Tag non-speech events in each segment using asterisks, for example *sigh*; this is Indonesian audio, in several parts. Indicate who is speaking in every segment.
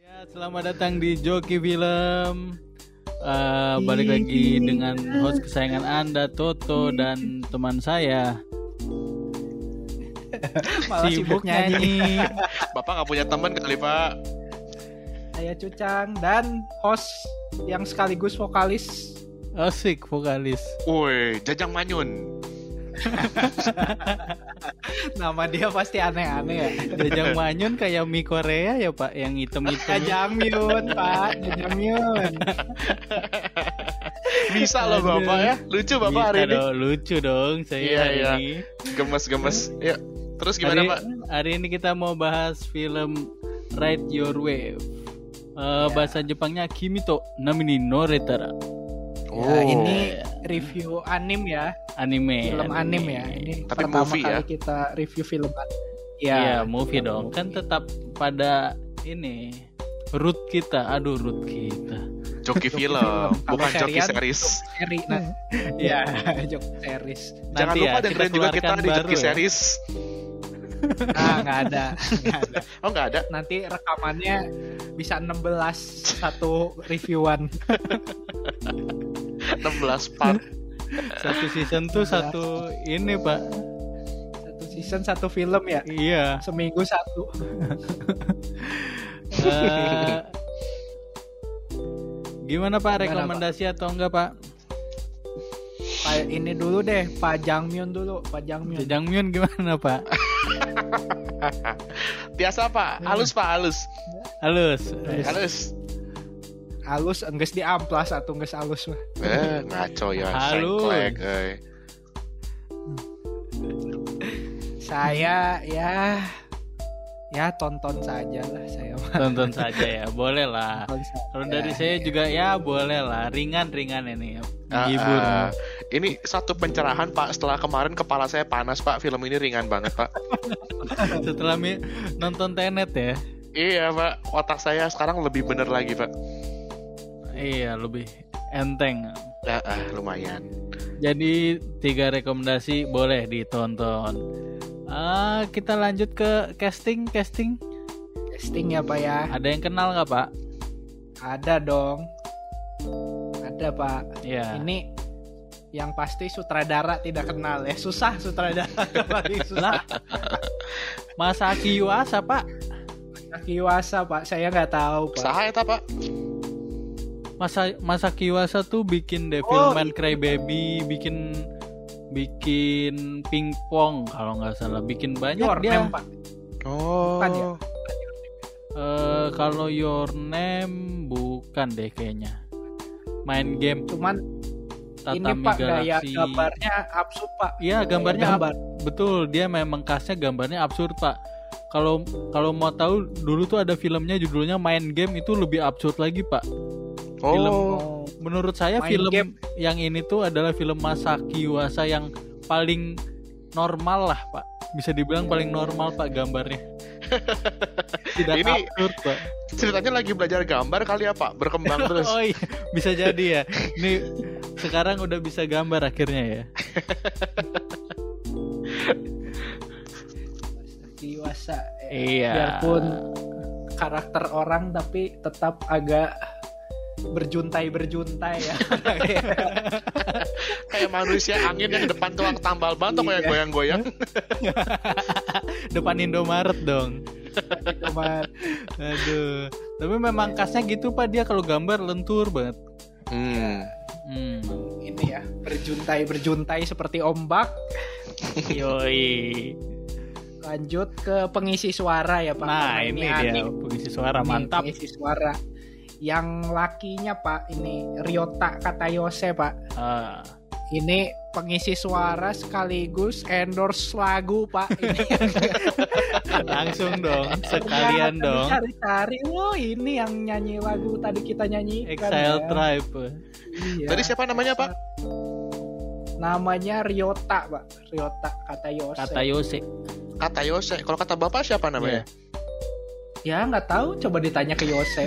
Speaker 1: Ya, Selamat datang di Joki Film. Eh, balik lagi dengan host kesayangan Anda Toto dan teman saya.
Speaker 2: Malah
Speaker 1: sibuk *laughs* nyanyi.
Speaker 3: Bapak nggak punya teman kali Pak.
Speaker 2: Saya Cucang dan host yang sekaligus vokalis.
Speaker 1: Asik Oh, vokalis.
Speaker 3: Woi, Jajang Manyun.
Speaker 2: Nama dia pasti aneh-aneh ya.
Speaker 1: Jajang Manyun kayak mie Korea ya Pak yang hitam-hitam.
Speaker 2: Jajamiun, Pak. Jajamiun.
Speaker 3: Bisa loh Bapak ya. Lucu Bapak hari
Speaker 1: Bisa
Speaker 3: ini.
Speaker 1: dong, Oh, lucu dong saya
Speaker 3: Iya,
Speaker 1: hari
Speaker 3: iya.
Speaker 1: ini.
Speaker 3: Gemes-gemes. Ya. Terus gimana
Speaker 1: hari,
Speaker 3: Pak?
Speaker 1: hari ini kita mau bahas film Ride Your Wave. Eh, bahasa Jepangnya Kimito Namini no Retara.
Speaker 3: Oh.
Speaker 2: Ya, ini
Speaker 1: *laughs*
Speaker 2: review anim ya,
Speaker 1: Anime.
Speaker 2: film anim ya. Ini
Speaker 3: Tapi
Speaker 2: pertama
Speaker 3: movie
Speaker 2: kali
Speaker 3: ya.
Speaker 2: kita review film anim. Ya,
Speaker 1: Iya, movie
Speaker 2: film
Speaker 1: dong. Kan
Speaker 2: movie.
Speaker 1: tetap pada ini root kita. Aduh, root kita.
Speaker 3: Joki film,
Speaker 2: Kalau
Speaker 3: bukan joki
Speaker 2: serian,
Speaker 3: series.
Speaker 2: seri nah.
Speaker 1: Hmm.
Speaker 2: Iya, *laughs* jok series.
Speaker 3: Jangan
Speaker 1: Nanti
Speaker 3: lupa
Speaker 1: ya,
Speaker 3: dengerin juga kita
Speaker 1: keluarkan
Speaker 3: di
Speaker 1: baru
Speaker 3: joki
Speaker 1: ya.
Speaker 3: series.
Speaker 2: Ah, nggak ada. Nggak ada.
Speaker 3: Oh nggak ada.
Speaker 2: Nanti rekamannya bisa 16 satu reviewan.
Speaker 3: 16 part.
Speaker 1: ya. Satu season tuh satu ini, Pak.
Speaker 2: Satu season satu film ya. *laughs*
Speaker 1: Iya.
Speaker 2: Seminggu satu.
Speaker 1: Eh, gimana Pak
Speaker 2: Gimana,
Speaker 1: rekomendasi atau enggak, Pak?
Speaker 2: Pak, ini dulu deh, Pak Jangmyun dulu, Pak Jangmyun.
Speaker 1: Jajangmyeon gimana, Pak?
Speaker 3: Biasa
Speaker 1: Hmm.
Speaker 3: Pak, halus Pak, halus.
Speaker 1: Halus.
Speaker 2: Iya.
Speaker 3: Halus.
Speaker 2: Halus engges di amplas atau engges halus mah.
Speaker 3: Eh, ngaco ya,
Speaker 1: Halus.
Speaker 3: sengklek, eh.
Speaker 2: Saya ya ya tonton saja lah saya mah.
Speaker 1: Tonton saja ya, boleh lah.
Speaker 2: Tonton saja.
Speaker 1: Kalau dari saya
Speaker 2: iya,
Speaker 1: juga ya boleh lah, ringan-ringan ini ya.
Speaker 3: Ah,
Speaker 1: Menghibur.
Speaker 3: ah. ini satu pencerahan Pak. Setelah kemarin kepala saya panas Pak. Film ini ringan banget Pak.
Speaker 1: Setelah mi- nonton Tenet ya.
Speaker 3: Iya Pak. Otak saya sekarang lebih bener lagi Pak.
Speaker 1: Iya, lebih enteng.
Speaker 3: Ah, ah, lumayan.
Speaker 1: Jadi tiga rekomendasi boleh ditonton. Ah, kita lanjut ke casting casting.
Speaker 2: Casting ya Pak ya.
Speaker 1: Ada yang kenal nggak Pak?
Speaker 2: Ada dong. Ada Pak.
Speaker 1: Ya.
Speaker 2: Ini yang pasti sutradara tidak kenal ya. Susah sutradara *laughs* paling susah.
Speaker 1: Masaki Yuasa Pak.
Speaker 2: Kiwasa Pak, saya nggak tahu Pak.
Speaker 3: Saha eta ya, Pak?
Speaker 1: Masa Masaki Yuasa tuh bikin Devilman
Speaker 2: Oh,
Speaker 1: Crybaby, bikin bikin pingpong kalau nggak salah, bikin banyak
Speaker 2: Your
Speaker 1: dia.
Speaker 2: name, Pak.
Speaker 3: Oh.
Speaker 2: Bukan ya?
Speaker 1: Eh, kalau Your Name bukan deh kayaknya. Main game
Speaker 2: Cuman ini
Speaker 1: Tatami
Speaker 2: Pak gaya
Speaker 1: Galaxy.
Speaker 2: gambarnya absurd Pak.
Speaker 1: Iya, gambarnya
Speaker 2: Gaya
Speaker 1: ab- Betul, dia memang khasnya gambarnya absurd, Pak. Kalau kalau mau tahu dulu tuh ada filmnya judulnya Main Game itu lebih absurd lagi, Pak.
Speaker 3: Oh.
Speaker 1: Film.
Speaker 2: Oh,
Speaker 1: Menurut saya
Speaker 2: Main
Speaker 1: film
Speaker 2: Game.
Speaker 1: yang ini tuh adalah film Masaki Yuasa yang paling normal lah, Pak. Bisa dibilang
Speaker 2: Iya.
Speaker 1: paling normal, Pak,
Speaker 2: *laughs*
Speaker 1: gambarnya. Tidak
Speaker 3: Ini-
Speaker 1: absurd, Pak.
Speaker 3: Ceritanya lagi belajar gambar kali ya Pak.
Speaker 1: *laughs*
Speaker 3: Berkembang terus.
Speaker 1: Oh iya, bisa jadi ya. Ini sekarang udah bisa gambar akhirnya
Speaker 2: *laughs*
Speaker 1: ya.
Speaker 2: dewasa. Eh,
Speaker 1: Iya.
Speaker 2: Biarpun karakter orang tapi tetap agak berjuntai-berjuntai
Speaker 1: *laughs*
Speaker 2: ya.
Speaker 3: Kayak manusia angin yang depan tulang tambal ban tuh kayak
Speaker 2: Iya.
Speaker 3: goyang-goyang.
Speaker 1: depan Indomaret dong.
Speaker 2: Cuman
Speaker 1: Aduh. Tapi memang khasnya gitu Pak dia kalau gambar lentur banget.
Speaker 3: Hmm.
Speaker 1: Hmm. *laughs*
Speaker 2: ini ya, berjuntai-berjuntai seperti ombak.
Speaker 1: Yoi.
Speaker 2: Lanjut ke pengisi suara ya Pak.
Speaker 1: Nah,
Speaker 2: Karena
Speaker 1: ini dia
Speaker 2: anime.
Speaker 1: pengisi suara
Speaker 2: Ini
Speaker 1: mantap.
Speaker 2: Pengisi suara. Yang lakinya Pak ini Ryota Katayose Pak.
Speaker 1: Ah.
Speaker 2: Ini pengisi suara sekaligus endorse lagu Pak.
Speaker 1: *laughs*
Speaker 2: Ini
Speaker 1: langsung *laughs* dong, sekalian
Speaker 2: Ternyata
Speaker 1: dong.
Speaker 2: Iya, Cari-cari, wow ini yang nyanyi lagu tadi kita nyanyi. kan, ya.
Speaker 1: Exile Tribe.
Speaker 2: Iya.
Speaker 3: Tadi siapa namanya Pak?
Speaker 2: Namanya Ryota Pak. Ryota Katayose.
Speaker 1: Kata Yose.
Speaker 3: Kata Yose. Kalau kata Bapak siapa namanya?
Speaker 2: Ya nggak tahu, coba ditanya ke
Speaker 1: *laughs*
Speaker 2: Yose.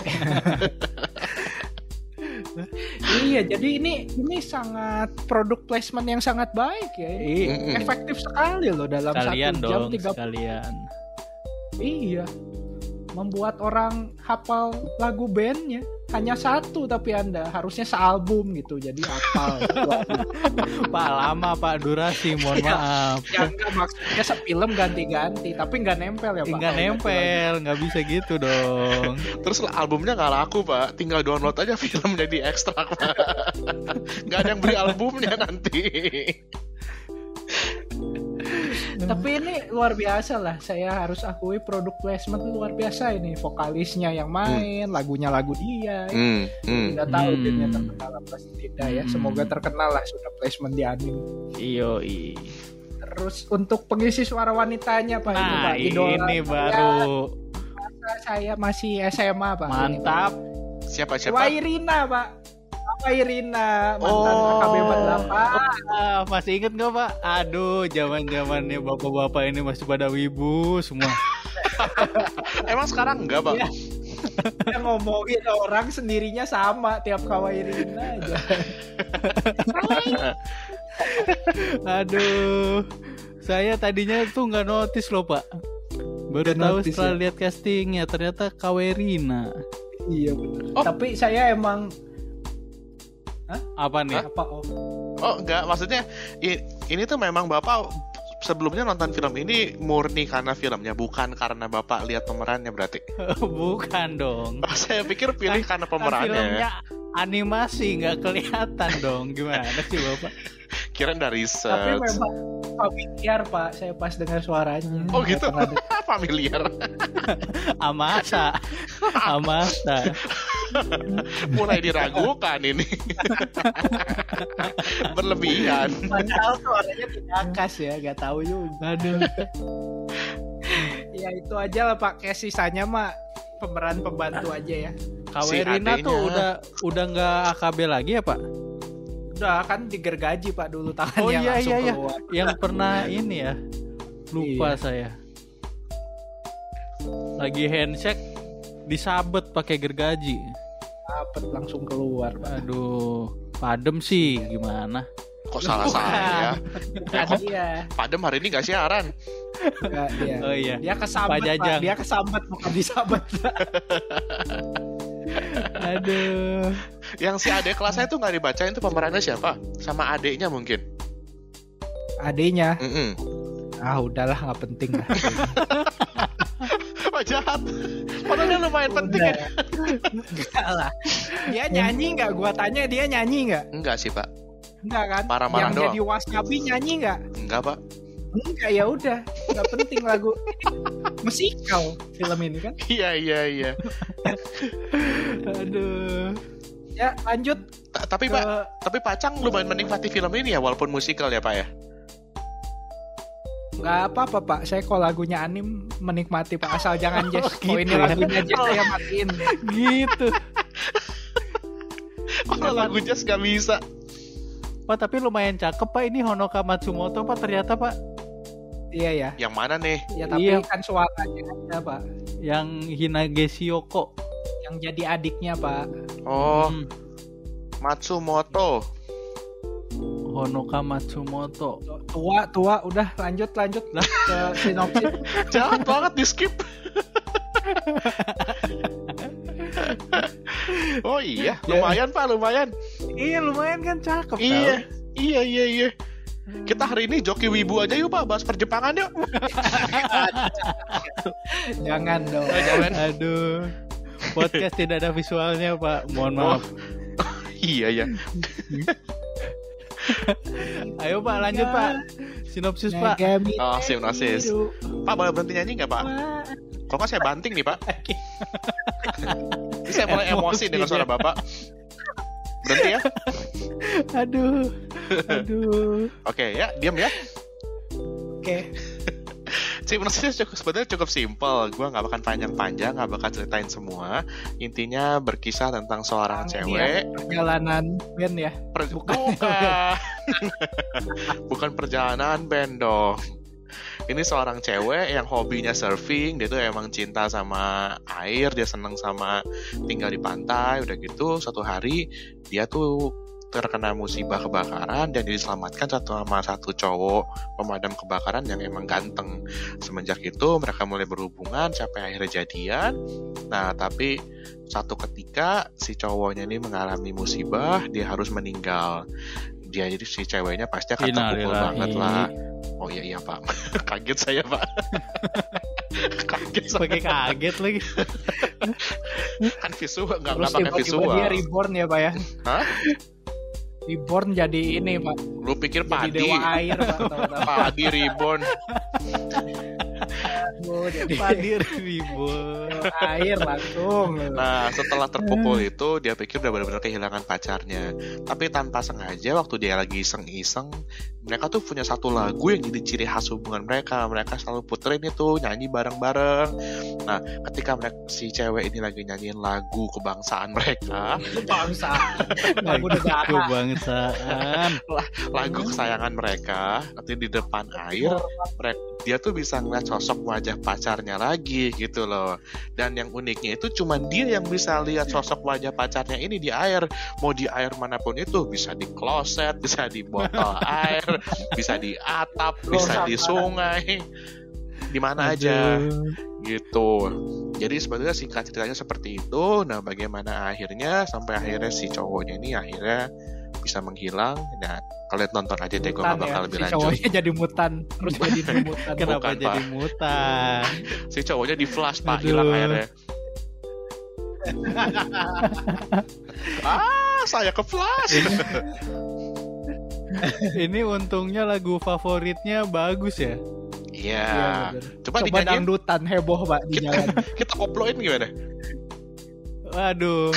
Speaker 2: iya, jadi ini ini sangat produk placement yang sangat baik ya.
Speaker 1: Iya.
Speaker 3: Mm-mm.
Speaker 2: Efektif sekali loh dalam
Speaker 1: Sekalian
Speaker 2: satu jam
Speaker 1: dong,
Speaker 2: tiga
Speaker 1: sekalian.
Speaker 2: Iya. membuat orang hafal lagu bandnya hanya satu tapi anda harusnya sealbum gitu jadi hafal
Speaker 1: Pak lama Pak durasi, mohon maaf.
Speaker 2: ya enggak maksudnya sefilm ganti-ganti tapi nggak nempel ya pak
Speaker 1: Enggak nempel, nggak bisa gitu dong.
Speaker 3: Terus albumnya nggak laku pak, tinggal download aja film jadi ekstrak pak. Nggak ada yang beli albumnya nanti.
Speaker 2: tapi ini luar biasa lah saya harus akui produk placement luar biasa ini vokalisnya yang main lagunya lagu dia ya.
Speaker 3: Hmm, hmm.
Speaker 2: tidak tahu
Speaker 1: Hmm.
Speaker 2: bandnya terkenal apa tidak ya
Speaker 1: Hmm.
Speaker 2: semoga terkenal lah sudah placement di anime
Speaker 1: Iyo
Speaker 2: terus untuk pengisi suara wanitanya pak ini
Speaker 1: Nah,
Speaker 2: pak idola
Speaker 1: ini
Speaker 2: saya
Speaker 1: baru
Speaker 2: masa saya masih SMA
Speaker 1: Iya.
Speaker 2: pak
Speaker 1: mantap.
Speaker 3: Siapa
Speaker 2: Ini, Pak.
Speaker 3: siapa?
Speaker 2: Wairina pak Wairina mantan
Speaker 1: Oh.
Speaker 2: AKB 48
Speaker 1: Ah, masih inget nggak Pak? Aduh, zaman zamannya bapak-bapak ini masih pada wibu semua.
Speaker 3: Emang sekarang nggak pak?
Speaker 2: Iya. Dia ngomongin orang sendirinya sama tiap kawaii Rina aja.
Speaker 1: Aduh, saya tadinya tuh nggak notice loh Pak. Baru
Speaker 2: Nggak
Speaker 1: tahu
Speaker 2: notice, ya?
Speaker 1: setelah lihat castingnya ternyata Kawerina.
Speaker 2: iya benar.
Speaker 1: Oh.
Speaker 2: Tapi saya emang
Speaker 1: Apa nih?
Speaker 2: apa oh
Speaker 3: Oh nggak, maksudnya i- ini tuh memang bapak sebelumnya nonton film ini murni karena filmnya, bukan karena bapak lihat pemerannya berarti. *laughs*
Speaker 1: *laughs* Bukan dong.
Speaker 3: Oh, Saya pikir pilih karena
Speaker 1: Kan filmnya
Speaker 3: pemerannya.
Speaker 1: animasi nggak kelihatan dong. Gimana sih Bapak?
Speaker 3: Kirain dari
Speaker 2: tapi
Speaker 3: research.
Speaker 2: memang familiar pak saya pas dengar suaranya.
Speaker 3: Oh, gitu?
Speaker 2: Nggak pernah
Speaker 3: Familiar.
Speaker 1: Amasa. Amasa.
Speaker 3: Mulai diragukan
Speaker 2: *laughs*
Speaker 3: ini. Berlebihan.
Speaker 2: dengar. Padahal suaranya tidak khas ya, nggak tahu juga.
Speaker 1: Aduh.
Speaker 2: Ya itu aja lah pak. Kayak sisanya mah pemeran pembantu aja ya.
Speaker 1: Kawerina
Speaker 3: adeknya.
Speaker 1: tuh udah udah nggak AKB lagi ya Pak?
Speaker 2: Udah kan digergaji pak dulu tangannya
Speaker 1: Oh, iya,
Speaker 2: langsung
Speaker 1: iya, iya.
Speaker 2: keluar.
Speaker 1: Yang
Speaker 3: Iya,
Speaker 1: pernah ini ya. Lupa saya. Lagi handshake disabet pakai gergaji.
Speaker 2: Dapet langsung keluar pak.
Speaker 1: Aduh, padem sih gimana?
Speaker 3: Kok salah
Speaker 2: Bukan.
Speaker 3: saya?
Speaker 2: Bukan dia.
Speaker 3: Padem hari ini gak siaran.
Speaker 2: Bukan dia.
Speaker 1: Oh iya.
Speaker 2: Dia
Speaker 1: Pak
Speaker 2: kesambet,
Speaker 1: Jajang.
Speaker 2: Pak. Dia kesambet, bukan
Speaker 1: *laughs*
Speaker 2: disambet.
Speaker 1: Aduh.
Speaker 3: Yang si adik kelas saya tuh nggak dibacain tuh pemerannya siapa? Sama adiknya mungkin.
Speaker 2: Adenya.
Speaker 3: Mm-mm.
Speaker 2: Ah, udahlah, nggak penting
Speaker 1: *laughs*
Speaker 2: lah.
Speaker 3: Apa jahat? Padahal dia lumayan penting
Speaker 2: Nah.
Speaker 3: ya.
Speaker 2: Enggak lah. Dia nyanyi nggak? Gua tanya dia nyanyi nggak?
Speaker 3: Enggak sih pak.
Speaker 2: Enggak kan?
Speaker 3: Marah-marah
Speaker 2: Yang
Speaker 3: doang.
Speaker 2: jadi wasabi nyanyi nggak?
Speaker 3: Enggak pak.
Speaker 2: Enggak ya udah. Nggak penting lagu. Musikal film ini kan.
Speaker 3: Iya iya iya.
Speaker 1: Aduh.
Speaker 2: Ya lanjut
Speaker 3: Ta- Tapi
Speaker 2: ke
Speaker 3: pak, tapi Pacang lumayan menikmati film ini ya walaupun musikal ya pak ya.
Speaker 2: nggak apa-apa Pak. Saya kalau lagunya anim menikmati Pak asal
Speaker 1: *laughs*
Speaker 2: jangan jazz.
Speaker 1: gitu
Speaker 2: Kalau ini
Speaker 1: ya.
Speaker 2: lagunya jazz
Speaker 1: *laughs*
Speaker 2: saya matiin.
Speaker 1: Gitu.
Speaker 3: Kalau lagu jazz gak bisa.
Speaker 1: Pak tapi lumayan cakep Pak ini Honoka Matsumoto Pak ternyata Pak
Speaker 2: Iya ya.
Speaker 3: Yang mana nih?
Speaker 2: Ya tapi
Speaker 1: Iya.
Speaker 2: kan suaranya aja Pak.
Speaker 1: yang Hinage Shioko.
Speaker 2: Yang jadi adiknya Pak.
Speaker 3: Oh
Speaker 1: Hmm,
Speaker 3: Matsumoto.
Speaker 1: Honoka Matsumoto.
Speaker 2: Tua tua udah lanjut lanjut lah ke sinopsis.
Speaker 3: *laughs* Jahat banget di skip. oh iya, lumayan pak, lumayan.
Speaker 1: *laughs* Iya lumayan kan cakep.
Speaker 3: Iya, iya, iya, iya. Kita hari ini joki wibu aja yuk pak, bahas perjepangan yuk.
Speaker 2: Jangan dong.
Speaker 3: Eh, jangan.
Speaker 1: Aduh. Podcast tidak ada visualnya, Pak. Mohon maaf.
Speaker 3: Oh. *laughs* Iya iya.
Speaker 1: Ayo, Pak, lanjut, Pak.
Speaker 3: Nah.
Speaker 1: Sinopsis, Pak.
Speaker 2: Megami
Speaker 3: Oh, sinopsis.
Speaker 2: Tenjiru.
Speaker 3: Pak boleh berhenti nyanyi nggak pak? Kalau nggak saya banting nih pak. Ini saya mulai emosi
Speaker 1: Emosi,
Speaker 3: dengan suara
Speaker 1: ya.
Speaker 3: bapak. Berhenti ya.
Speaker 1: Aduh. Aduh.
Speaker 3: Oke ya, diam ya.
Speaker 2: Oke.
Speaker 3: Sinopsis cukup sebenarnya cukup simpel. Gua nggak bakal panjang-panjang, nggak bakal ceritain semua. Intinya berkisah tentang seorang
Speaker 2: Tangan
Speaker 3: cewek.
Speaker 2: Perjalanan band ya.
Speaker 3: Per- bukan. bukan perjalanan band dong. Ini seorang cewek yang hobinya surfing, dia tuh emang cinta sama air, dia seneng sama tinggal di pantai, udah gitu suatu hari dia tuh terkena musibah kebakaran dan diselamatkan satu sama satu cowok pemadam kebakaran yang emang ganteng. Semenjak itu mereka mulai berhubungan sampai akhirnya jadian. Nah, tapi satu ketika si cowoknya ini mengalami musibah, dia harus meninggal. Dia jadi si ceweknya pasti akan terpukul
Speaker 1: Innalillahi.
Speaker 3: banget lah. Oh iya iya pak, *laughs* kaget saya
Speaker 2: *laughs*
Speaker 3: pak. kaget saya.
Speaker 1: Pakai kaget lagi.
Speaker 3: kan visual nggak
Speaker 2: Terus
Speaker 3: nggak
Speaker 2: tiba-tiba
Speaker 3: pakai visual.
Speaker 2: dia reborn ya pak ya?
Speaker 3: Hah?
Speaker 2: Reborn jadi ini pak,
Speaker 3: Lu pikir
Speaker 2: jadi
Speaker 3: padi?
Speaker 2: dewa air pak.
Speaker 1: *laughs*
Speaker 2: tahu-tahu.
Speaker 3: Padi reborn.
Speaker 2: Oh, jadi
Speaker 1: Padir ribut.
Speaker 2: dewa air langsung.
Speaker 3: Nah, setelah terpukul
Speaker 2: *laughs*
Speaker 3: itu dia pikir udah benar-benar kehilangan pacarnya. Tapi tanpa sengaja waktu dia lagi iseng-iseng, mereka tuh punya satu lagu yang jadi ciri khas hubungan mereka. Mereka selalu puterin itu nyanyi bareng-bareng. Nah, ketika mereka si cewek ini lagi nyanyiin lagu kebangsaan mereka,
Speaker 2: Itu bangsa. Lagu negara.
Speaker 1: kebangsaan.
Speaker 3: lagu kesayangan mereka, nanti di depan air dia tuh bisa ngeliat sosok wajah pacarnya lagi gitu loh dan yang uniknya itu cuman dia yang bisa lihat
Speaker 2: Iya.
Speaker 3: sosok wajah pacarnya ini di air mau di air manapun itu bisa di kloset *laughs* bisa di botol
Speaker 2: *laughs*
Speaker 3: air bisa di atap bisa di sungai di mana aja
Speaker 1: Aduh.
Speaker 3: gitu. Jadi sebetulnya singkat ceritanya seperti itu. Nah, bagaimana akhirnya sampai akhirnya si cowoknya ini akhirnya bisa menghilang. Nah, kalian nonton aja deh, gue
Speaker 2: Mutan
Speaker 3: gak bakal
Speaker 2: ya.
Speaker 3: lebih
Speaker 2: Si
Speaker 3: lanjut.
Speaker 2: cowoknya jadi mutan, terus jadi mutan.
Speaker 1: Kenapa
Speaker 2: Iya,
Speaker 3: Kan Bukan,
Speaker 1: jadi
Speaker 3: Pak.
Speaker 1: mutan?
Speaker 3: Si cowoknya di flash pak,
Speaker 1: Aduh.
Speaker 3: hilang airnya. ah, saya ke flash.
Speaker 1: Ini untungnya lagu favoritnya bagus ya.
Speaker 3: Iya.
Speaker 2: Iya, bener.
Speaker 3: Coba,
Speaker 2: Coba
Speaker 3: dinyanyiin.
Speaker 2: dangdutan heboh pak di
Speaker 3: Kita,
Speaker 2: jalan.
Speaker 3: kita koploin gimana?
Speaker 1: Waduh.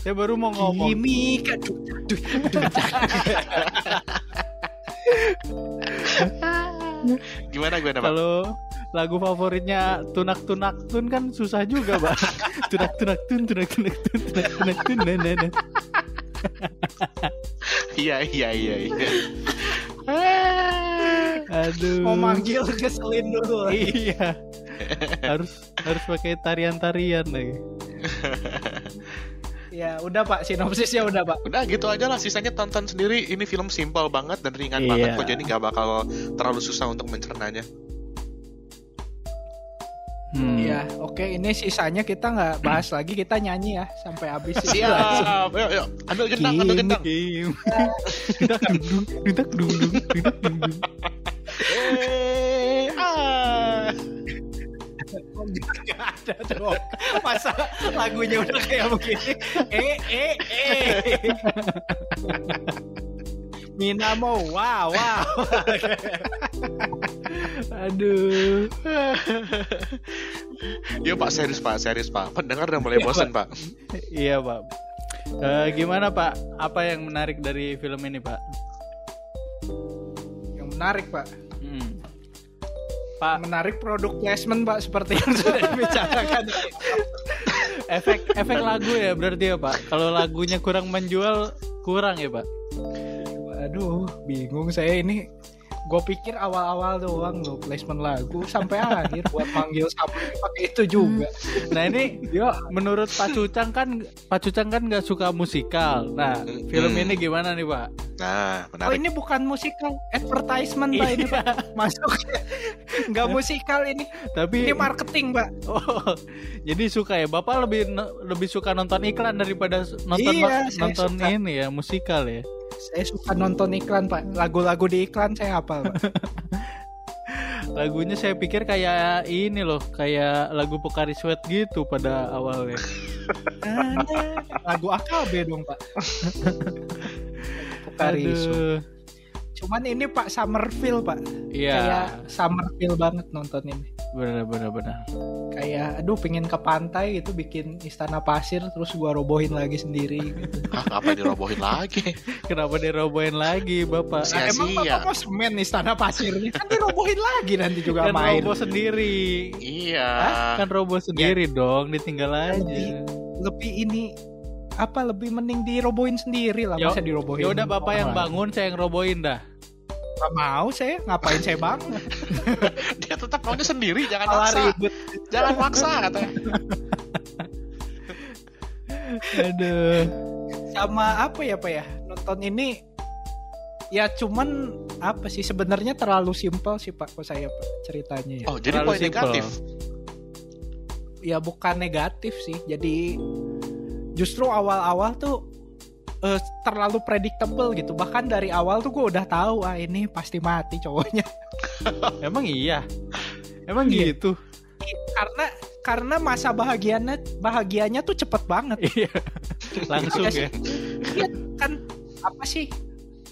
Speaker 1: Saya baru mau ngomong.
Speaker 2: Kimi kan kaduh, duh, duh,
Speaker 3: Gimana gimana pak?
Speaker 1: Kalau lagu favoritnya tunak tunak tun kan susah juga,
Speaker 3: *laughs*
Speaker 1: Pak. tunak tunak tun tunak tunak tun tunak tunak tun nah, nah, nah.
Speaker 3: Iya iya iya. iya. Eh.
Speaker 1: Aduh.
Speaker 3: Oh,
Speaker 2: mau manggil keselin dulu.
Speaker 1: Hmm. Iya. harus harus pakai tarian-tarian lagi.
Speaker 2: Ya udah pak, sinopsisnya udah pak.
Speaker 3: Udah gitu aja lah, sisanya tonton sendiri. Ini film simpel banget dan ringan
Speaker 1: Iya.
Speaker 3: banget kok, jadi nggak bakal terlalu susah untuk mencernanya.
Speaker 1: Hmm.
Speaker 2: Iya, oke ini sisanya kita nggak bahas lagi, kita nyanyi ya sampai habis. itu langsung.
Speaker 3: Siap, *laughs* ayo, ayo. Ambil gendang, ambil
Speaker 1: Kim,
Speaker 3: gendang.
Speaker 1: Kim. Dudak dungdung, dudak dungdung, dudak dungdung.
Speaker 3: Eh, ah.
Speaker 2: Nggak ada dong. Masa lagunya udah kayak begini. Eh eh eh. Minamo, wow *laughs* wow.
Speaker 1: Aduh.
Speaker 3: Yo Pak serius Pak, serius Pak. Pendengar udah mulai
Speaker 2: Iya,
Speaker 3: bosan Pak.
Speaker 1: Iya, Pak. Eh, gimana, Pak? Apa yang menarik dari film ini, Pak?
Speaker 2: Yang menarik pak,
Speaker 1: Hmm. Pak,
Speaker 2: menarik produk placement pak seperti yang sudah dibicarakan.
Speaker 1: efek efek lagu ya berarti ya, Pak. Kalau lagunya kurang menjual, kurang ya, Pak.
Speaker 2: Aduh, bingung saya ini. Gue pikir awal-awal doang loh placement lagu sampai akhir buat manggil sampai pakai itu juga.
Speaker 1: Nah, ini
Speaker 2: Yo, oh,
Speaker 1: menurut Pak Cucang kan Pak Cucang kan nggak suka musikal. Nah, film
Speaker 3: Hmm.
Speaker 1: ini gimana nih, Pak?
Speaker 2: oh
Speaker 3: Nah, menarik.
Speaker 2: ini bukan musikal, advertisement pak ini pak. Masuk nggak musikal ini.
Speaker 1: Tapi
Speaker 2: Ini marketing, Pak.
Speaker 1: *laughs* Oh, jadi suka ya. Bapak lebih lebih suka nonton iklan daripada s- nonton
Speaker 2: Iya, saya
Speaker 1: nonton
Speaker 2: suka.
Speaker 1: ini ya, musikal ya.
Speaker 2: Saya suka nonton iklan, Pak. Lagu-lagu di iklan saya hafal, Pak.
Speaker 1: Lagunya saya pikir kayak ini loh, kayak lagu Pokari Sweat gitu pada awalnya.
Speaker 2: Lagu AKB dong, Pak. Pokari Sweat.
Speaker 1: Aduh.
Speaker 2: Cuman ini Pak Summerfield, Pak. Kayak
Speaker 1: Iya,
Speaker 2: Summerfield banget nonton ini.
Speaker 1: benar benar benar.
Speaker 2: Kayak aduh pengen ke pantai gitu bikin istana pasir terus gua robohin lagi sendiri.
Speaker 1: *laughs*
Speaker 2: Gitu.
Speaker 3: Ah, apa dirobohin lagi?
Speaker 1: Kenapa dirobohin lagi, Bapak?
Speaker 2: Nah,
Speaker 3: Sia-sia.
Speaker 2: emang
Speaker 1: ya.
Speaker 2: Bapak mau semen istana pasirnya? Kan dirobohin lagi nanti juga
Speaker 1: Kan
Speaker 2: main.
Speaker 1: roboh sendiri.
Speaker 3: Iya.
Speaker 1: Kan roboh sendiri dong, ditinggal aja.
Speaker 2: Lebih- Lebih ini apa lebih mending dirobohin sendiri lah
Speaker 1: Ya-
Speaker 2: masa dirobohin.
Speaker 1: Ya udah Bapak yang
Speaker 2: orang lain.
Speaker 1: bangun, saya yang robohin dah.
Speaker 2: Gak mau saya, ngapain saya
Speaker 1: *laughs*
Speaker 2: bang?
Speaker 3: Dia tetap maunya sendiri, jangan
Speaker 2: Malah
Speaker 3: maksa.
Speaker 2: ribut.
Speaker 3: Jangan maksa katanya.
Speaker 1: Aduh.
Speaker 2: Sama apa ya Pak ya? nonton ini ya cuman apa sih sebenarnya terlalu simpel sih Pak kok saya Pak ceritanya ya.
Speaker 3: Oh, jadi
Speaker 1: Terlalu
Speaker 3: poin
Speaker 1: simple.
Speaker 3: negatif.
Speaker 2: Ya bukan negatif sih. Jadi justru awal-awal tuh eh, terlalu predictable gitu. Bahkan dari awal tuh gue udah tahu ah ini pasti mati cowoknya. *laughs*
Speaker 1: Emang iya. Emang
Speaker 2: Iya.
Speaker 1: gitu.
Speaker 2: karena karena masa bahagianya bahagianya tuh cepet banget.
Speaker 1: *laughs* Iya.
Speaker 3: Gitu.
Speaker 1: Langsung
Speaker 2: Iya
Speaker 1: ya.
Speaker 2: Iya kan apa sih?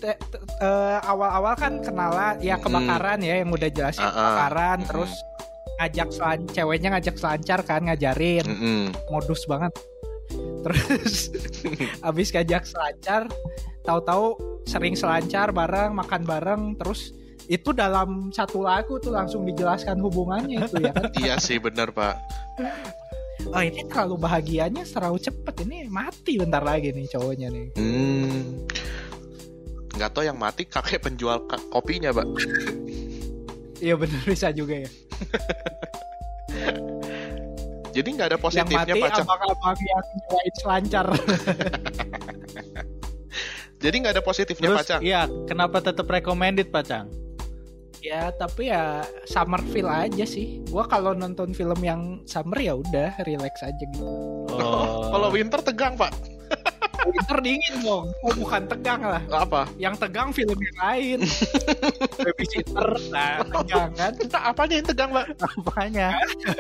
Speaker 2: Te- te- eh, awal-awal kan kenalan ya kebakaran ya yang udah jelasin
Speaker 3: Hmm. Ah, ah.
Speaker 2: kebakaran
Speaker 3: Mm-mm.
Speaker 2: terus ngajak selan ceweknya ngajak selancar kan ngajarin
Speaker 3: Mm-mm.
Speaker 2: modus banget. Terus abis ngajak selancar, tahu-tahu sering selancar bareng, makan bareng, terus itu dalam satu lagu tuh langsung dijelaskan hubungannya itu ya kan.
Speaker 3: Iya sih benar pak.
Speaker 2: Oh ini terlalu bahagianya terlalu cepet ini mati bentar lagi nih cowoknya nih.
Speaker 3: Hmm. Nggak tahu yang mati kakek penjual ka- kopinya pak.
Speaker 2: Iya bener bisa juga ya.
Speaker 3: Jadi nggak ada
Speaker 2: Yang
Speaker 3: positifnya
Speaker 2: mati
Speaker 3: pacar.
Speaker 2: abang-abang yang nyewain selancar.
Speaker 3: Jadi nggak ada positifnya
Speaker 1: Terus
Speaker 3: pacar.
Speaker 1: iya, kenapa tetap recommended Pak Cang?
Speaker 2: ya tapi ya summer feel aja sih. Gua kalau nonton film yang summer ya udah relax aja gitu.
Speaker 1: Oh.
Speaker 3: Kalau winter tegang pak.
Speaker 2: Winter dingin kan dong. Oh, bukan tegang lah.
Speaker 3: Apa?
Speaker 2: Yang tegang film yang lain. Babysitter. Nah, tegang kan.
Speaker 3: Entah apanya yang tegang pak?
Speaker 2: Apanya?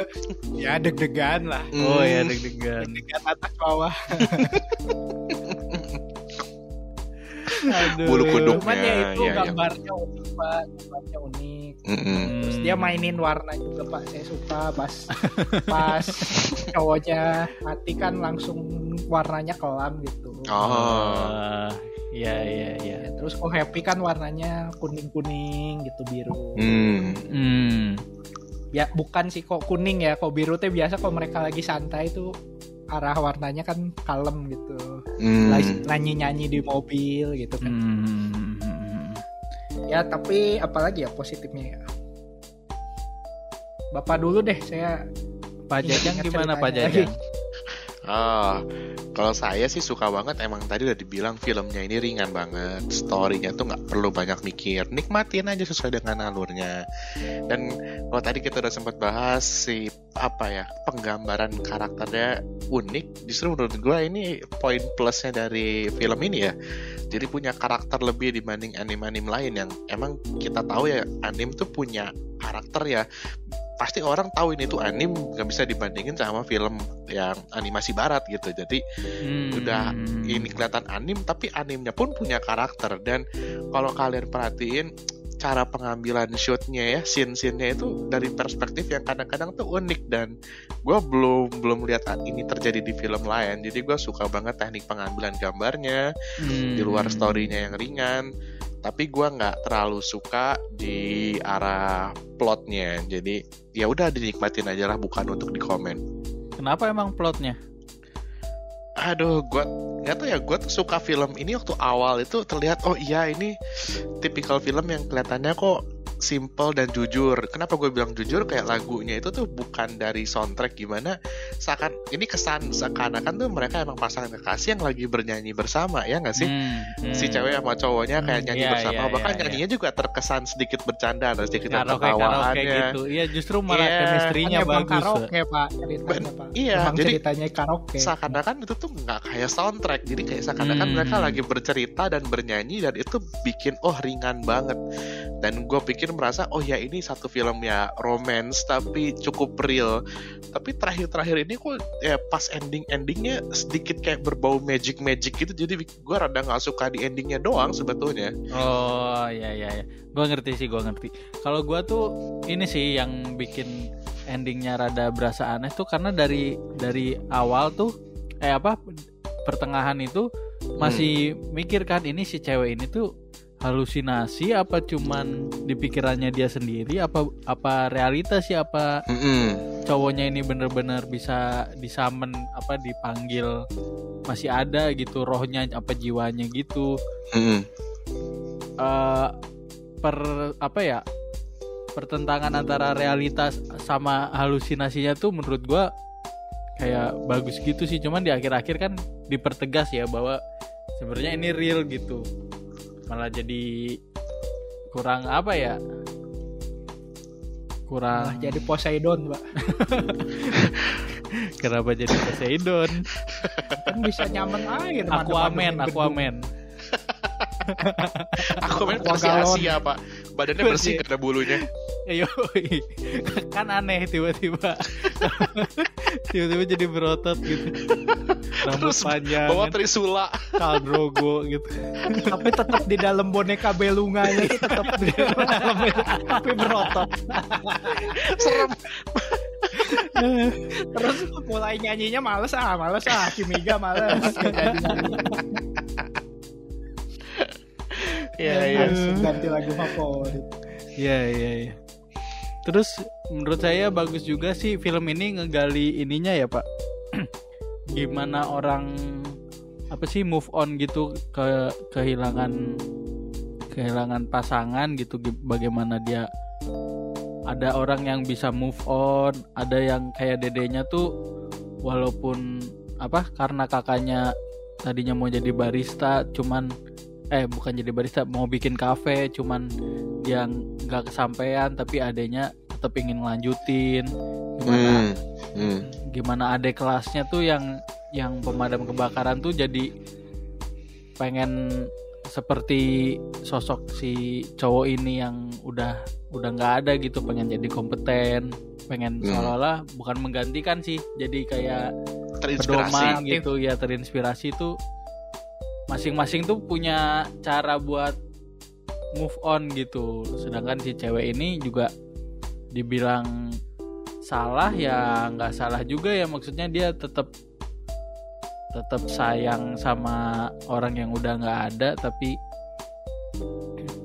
Speaker 2: *laughs* ya deg-degan lah.
Speaker 1: Oh ya
Speaker 3: Hmm.
Speaker 1: deg-degan.
Speaker 2: Deg-degan atas bawah.
Speaker 1: Aduh.
Speaker 3: Bulu kuduk.
Speaker 2: Cuman ya
Speaker 3: Ya,
Speaker 2: itu
Speaker 3: ya, ya.
Speaker 2: gambarnya unik, Pak. Gambarnya unik.
Speaker 3: Mm-mm.
Speaker 1: Hmm.
Speaker 2: Terus dia mainin warna juga, Pak. Saya suka pas pas cowoknya mati kan langsung warnanya kelam gitu.
Speaker 3: Oh.
Speaker 1: Ah, Iya iya iya.
Speaker 2: Ya, terus kok happy kan warnanya kuning-kuning gitu biru.
Speaker 3: Hmm.
Speaker 1: Hmm.
Speaker 2: ya bukan sih kok kuning ya kok biru teh biasa kalau mereka lagi santai tuh arah warnanya kan kalem gitu
Speaker 3: Hmm.
Speaker 2: nyanyi nyanyi di mobil gitu kan
Speaker 1: Hmm.
Speaker 2: ya tapi apalagi ya positifnya ya bapak dulu deh saya
Speaker 1: Pak Jajang
Speaker 2: Ingat
Speaker 1: gimana Pak
Speaker 2: ceritanya
Speaker 3: *laughs*
Speaker 1: Jajang?
Speaker 3: Ah, kalau saya sih suka banget. Emang tadi udah dibilang filmnya ini ringan banget, storynya tuh nggak perlu banyak mikir, nikmatin aja sesuai dengan alurnya. Dan kalau tadi kita udah sempat bahas si apa ya penggambaran karakternya unik. Justru menurut gua ini poin plusnya dari film ini ya. Jadi punya karakter lebih dibanding anim-anim lain yang emang kita tahu ya anim tuh punya karakter ya pasti orang tahu ini tuh anim nggak bisa dibandingin sama film yang animasi barat gitu jadi
Speaker 1: Hmm.
Speaker 3: Udah, ini kelihatan anim tapi animnya pun punya karakter dan kalau kalian perhatiin cara pengambilan shootnya ya scene-scene-nya itu dari perspektif yang kadang-kadang tuh unik dan gue belum belum lihat ini terjadi di film lain jadi gue suka banget teknik pengambilan gambarnya
Speaker 1: Hmm.
Speaker 3: di luar storynya yang ringan tapi gua nggak terlalu suka di arah plotnya jadi ya udah dinikmatin aja lah bukan untuk dikomen
Speaker 1: Kenapa emang plotnya?
Speaker 3: aduh gua nggak tahu ya gua tuh suka film ini waktu awal itu terlihat oh iya ini tipikal film yang kelihatannya kok simple dan jujur. Kenapa gue bilang jujur? Kayak lagunya itu tuh bukan dari soundtrack gimana. Seakan ini kesan seakan-akan tuh mereka emang pasangan kekasih yang lagi bernyanyi bersama ya nggak sih?
Speaker 1: Hmm, hmm.
Speaker 3: si cewek sama cowoknya kayak
Speaker 1: Hmm,
Speaker 3: nyanyi
Speaker 1: iya,
Speaker 3: bersama
Speaker 1: iya,
Speaker 3: bahkan
Speaker 1: iya,
Speaker 3: nyanyinya juga terkesan sedikit bercanda dan sedikit ada
Speaker 1: karaoke karaoke
Speaker 3: ketawaannya
Speaker 1: gitu. Iya justru malah
Speaker 3: Iya.
Speaker 1: chemistry-nya
Speaker 2: Kan emang
Speaker 1: bagus. Pak.
Speaker 2: karaoke pak ceritanya pak
Speaker 3: iya,
Speaker 2: emang
Speaker 3: jadi-
Speaker 2: ceritanya karaoke
Speaker 3: seakan-akan itu tuh nggak kayak soundtrack jadi kayak seakan-akan
Speaker 1: Hmm.
Speaker 3: mereka lagi bercerita dan bernyanyi dan itu bikin oh ringan banget dan gue pikir merasa oh ya ini satu film ya romance tapi cukup real tapi terakhir-terakhir ini kok ya pas ending-endingnya sedikit kayak berbau magic-magic gitu jadi gue rada nggak suka di endingnya doang sebetulnya
Speaker 1: Oh iya iya iya. Gua ngerti sih, gua ngerti. Kalau gua tuh ini sih yang bikin endingnya rada berasa aneh tuh karena dari dari awal tuh eh apa pertengahan itu masih mikir kan ini si cewek ini tuh halusinasi apa cuman di pikirannya dia sendiri apa apa realitas sih apa cowoknya ini bener-bener bisa disamen apa dipanggil masih ada gitu rohnya apa jiwanya gitu eh, per apa ya pertentangan antara realitas sama halusinasinya tuh menurut gua kayak bagus gitu sih cuman di akhir-akhir kan dipertegas ya bahwa sebenarnya ini real gitu malah jadi kurang apa ya
Speaker 2: Malah
Speaker 1: kurang
Speaker 2: Ah, jadi Poseidon, Pak.
Speaker 1: *laughs* kenapa jadi Poseidon
Speaker 2: Kan bisa nyaman air.
Speaker 1: Aquaman
Speaker 2: mantep-mantepin gedung.
Speaker 1: Aquaman
Speaker 3: Aku main
Speaker 2: Aqua
Speaker 3: versi
Speaker 2: galon.
Speaker 3: Asia pak. Badannya bersih
Speaker 1: Bersih.
Speaker 3: gak ada bulunya.
Speaker 1: Ayo, Iya, kan aneh tiba-tiba, *laughs* tiba-tiba jadi berotot gitu, rambut
Speaker 3: Terus
Speaker 1: panjang,
Speaker 3: Bawa
Speaker 1: kan,
Speaker 3: trisula.
Speaker 1: kaldrogo gitu.
Speaker 2: Tapi tetap di dalam boneka belunganya itu tetap di dalam tapi berotot.
Speaker 3: Serem.
Speaker 2: Terus mulai nyanyinya males ah, males ah, Kimiga males. Nggak jadi.
Speaker 3: Iya iya.
Speaker 2: Harus ganti lagu favorit.
Speaker 1: Iya iya iya. Terus menurut saya bagus juga sih film ini ngegali ininya ya pak. Gimana orang apa sih move on gitu ke kehilangan kehilangan pasangan gitu gi- bagaimana dia ada orang yang bisa move on ada yang kayak dedenya tuh walaupun apa karena kakaknya tadinya mau jadi barista cuman eh bukan jadi barista mau bikin kafe cuman yang nggak kesampaian tapi adanya tetap ingin lanjutin gimana
Speaker 3: Hmm.
Speaker 1: Mm.
Speaker 3: Hmm.
Speaker 1: gimana adek kelasnya tuh yang yang pemadam kebakaran tuh jadi pengen seperti sosok si cowok ini yang udah udah nggak ada gitu pengen jadi kompeten pengen
Speaker 3: Hmm.
Speaker 1: seolah-olah bukan menggantikan sih jadi kayak
Speaker 3: Terinspirasi.
Speaker 1: pedoman gitu ya terinspirasi tuh masing-masing tuh punya cara buat move on gitu sedangkan si cewek ini juga dibilang salah ya nggak salah juga ya maksudnya dia tetap tetap sayang sama orang yang udah nggak ada tapi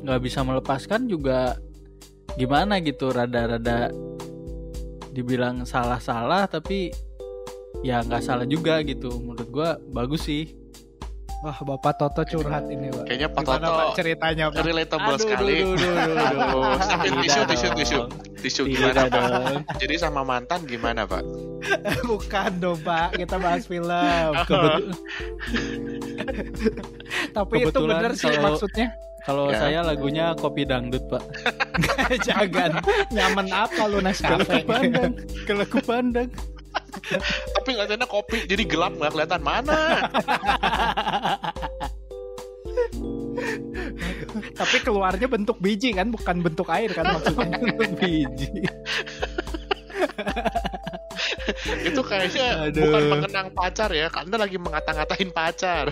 Speaker 1: nggak bisa melepaskan juga gimana gitu rada-rada dibilang salah-salah tapi ya nggak salah juga gitu menurut gua bagus sih
Speaker 2: Wah, Bapak Toto curhat ini, Pak.
Speaker 3: Kayaknya Pak
Speaker 2: Gimana,
Speaker 3: Toto
Speaker 2: Pak, ceritanya, Pak?
Speaker 3: relatable sekali.
Speaker 1: aduh, aduh, aduh, aduh, aduh.
Speaker 3: Sampai
Speaker 1: Tidak
Speaker 3: tisu, tisu,
Speaker 1: dong.
Speaker 3: tisu. Tisu
Speaker 1: Tidak
Speaker 3: gimana pak?
Speaker 1: dong.
Speaker 3: Jadi sama mantan gimana pak?
Speaker 2: Bukan dong, Pak. Kita bahas film.
Speaker 1: Kebetu-
Speaker 2: Tapi itu
Speaker 1: Kebetulan
Speaker 2: bener sih
Speaker 1: kalau-
Speaker 2: maksudnya.
Speaker 1: kalau
Speaker 3: Ya.
Speaker 1: saya lagunya kopi dangdut pak
Speaker 2: Jangan nyaman apa
Speaker 1: kalau
Speaker 2: lu Nescafe.
Speaker 1: pandang kalau pandang
Speaker 3: Tapi kelihatannya kopi, jadi gelap nggak kelihatan mana.
Speaker 2: Tapi keluarnya bentuk biji kan, bukan bentuk air kan maksudnya.
Speaker 1: biji
Speaker 3: Itu kayaknya
Speaker 1: Aduh.
Speaker 3: bukan mengenang pacar ya. Anda lagi mengata-ngatain pacar.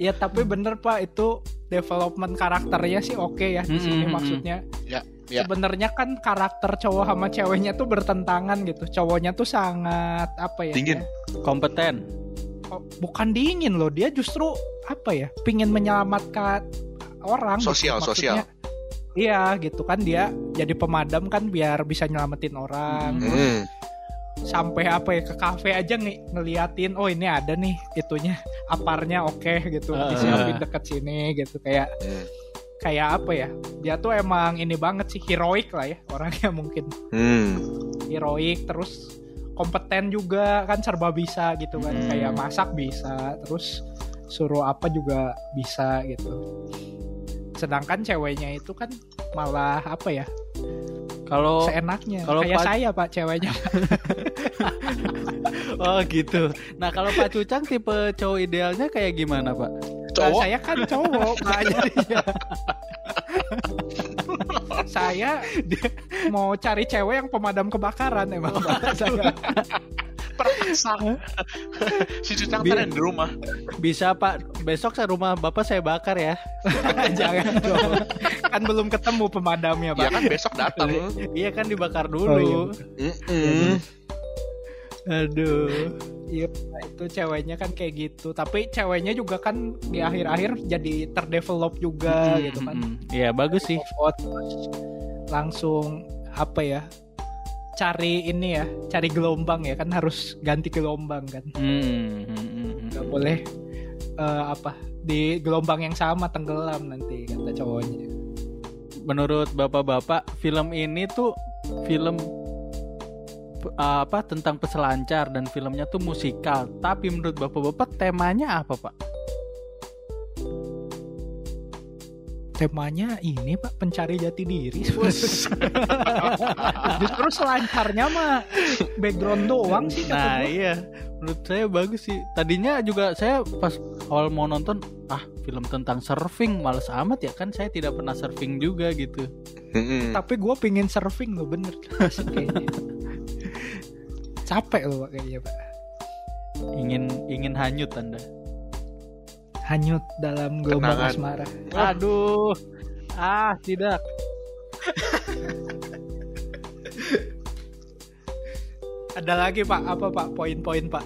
Speaker 2: Ya tapi
Speaker 3: Hmm.
Speaker 2: bener Pak itu development karakternya sih oke ya
Speaker 1: Mm,
Speaker 2: di
Speaker 3: Hmm,
Speaker 2: sini
Speaker 1: mm, mm.
Speaker 2: maksudnya.
Speaker 3: Ya, ya.
Speaker 2: Sebenarnya kan karakter cowok sama ceweknya tuh bertentangan gitu. Cowoknya tuh sangat apa ya?
Speaker 3: Dingin.
Speaker 1: kompeten
Speaker 2: Oh, bukan dingin loh, dia justru apa ya? Pingin menyelamatkan orang. gitu
Speaker 3: Sosial,
Speaker 2: maksudnya. Iya gitu kan dia jadi pemadam kan biar bisa nyelamatin orang.
Speaker 1: Mm.
Speaker 3: Hmm.
Speaker 2: sampai apa ya ke kafe aja nih ngeliatin oh ini ada nih itunya aparnya oke gitu
Speaker 1: Ah.
Speaker 2: disiapin deket sini gitu kayak
Speaker 3: Hmm.
Speaker 2: kayak apa ya dia tuh emang ini banget sih heroik lah ya orangnya mungkin
Speaker 3: Hmm.
Speaker 2: heroik terus kompeten juga kan serba bisa gitu kan
Speaker 1: Hmm.
Speaker 2: kayak masak bisa terus suruh apa juga bisa gitu sedangkan ceweknya itu kan malah apa ya
Speaker 1: kalau
Speaker 2: seenaknya
Speaker 1: Oh, kalau
Speaker 2: kayak
Speaker 1: Pak-
Speaker 2: saya pak
Speaker 1: *laughs*
Speaker 2: ceweknya
Speaker 1: oh gitu nah kalau pak cucang tipe cowok idealnya kayak gimana pak
Speaker 2: Nah,
Speaker 3: Cowok
Speaker 2: saya kan cowok,
Speaker 1: *laughs*
Speaker 2: Pak. Jadinya. saya dia- mau cari cewek yang pemadam kebakaran emang. Pak. Saya-
Speaker 3: perasa. *laughs* si Cucang
Speaker 1: Bi-
Speaker 3: tren di rumah.
Speaker 1: bisa pak besok saya rumah bapak saya bakar ya
Speaker 2: *laughs* Jangan
Speaker 1: *laughs*
Speaker 2: dong. Kan belum ketemu pemadamnya, Pak.
Speaker 3: Ya kan besok datang.
Speaker 1: iya kan dibakar
Speaker 2: Oh,
Speaker 1: dulu
Speaker 3: Hmm. Mm-mm.
Speaker 1: aduh
Speaker 2: Iya, Pak. itu ceweknya kan kayak gitu. Tapi ceweknya juga kan di akhir-akhir jadi terdevelop juga gitu kan.
Speaker 1: Mm, mm, mm. iya bagus sih
Speaker 2: Pivot, terus langsung apa ya? Cari ini ya, cari gelombang ya kan harus ganti gelombang kan.
Speaker 1: Hmm, hmm, hmm, hmm.
Speaker 2: nggak boleh eh, apa di gelombang yang sama tenggelam nanti kata cowoknya
Speaker 1: menurut bapak-bapak film ini tuh film eh, apa tentang peselancar dan filmnya tuh musikal. Tapi menurut bapak-bapak temanya apa pak?
Speaker 2: temanya ini pak pencari jati diri *laughs* justru selancarnya mah background doang sih kata
Speaker 1: Nah
Speaker 2: gua.
Speaker 1: iya, menurut saya bagus sih. Tadinya juga saya pas awal mau nonton, ah film tentang surfing males amat ya kan saya tidak pernah surfing juga gitu.
Speaker 3: Mm-mm.
Speaker 2: tapi gue pingin surfing loh bener Asik kayaknya. capek loh pak kayaknya pak
Speaker 1: Ingin ingin hanyut anda.
Speaker 2: hanyut dalam gelombang asmara
Speaker 3: Kenangan. Ah.
Speaker 1: Aduh, ah tidak.
Speaker 2: ada lagi pak apa pak poin-poin pak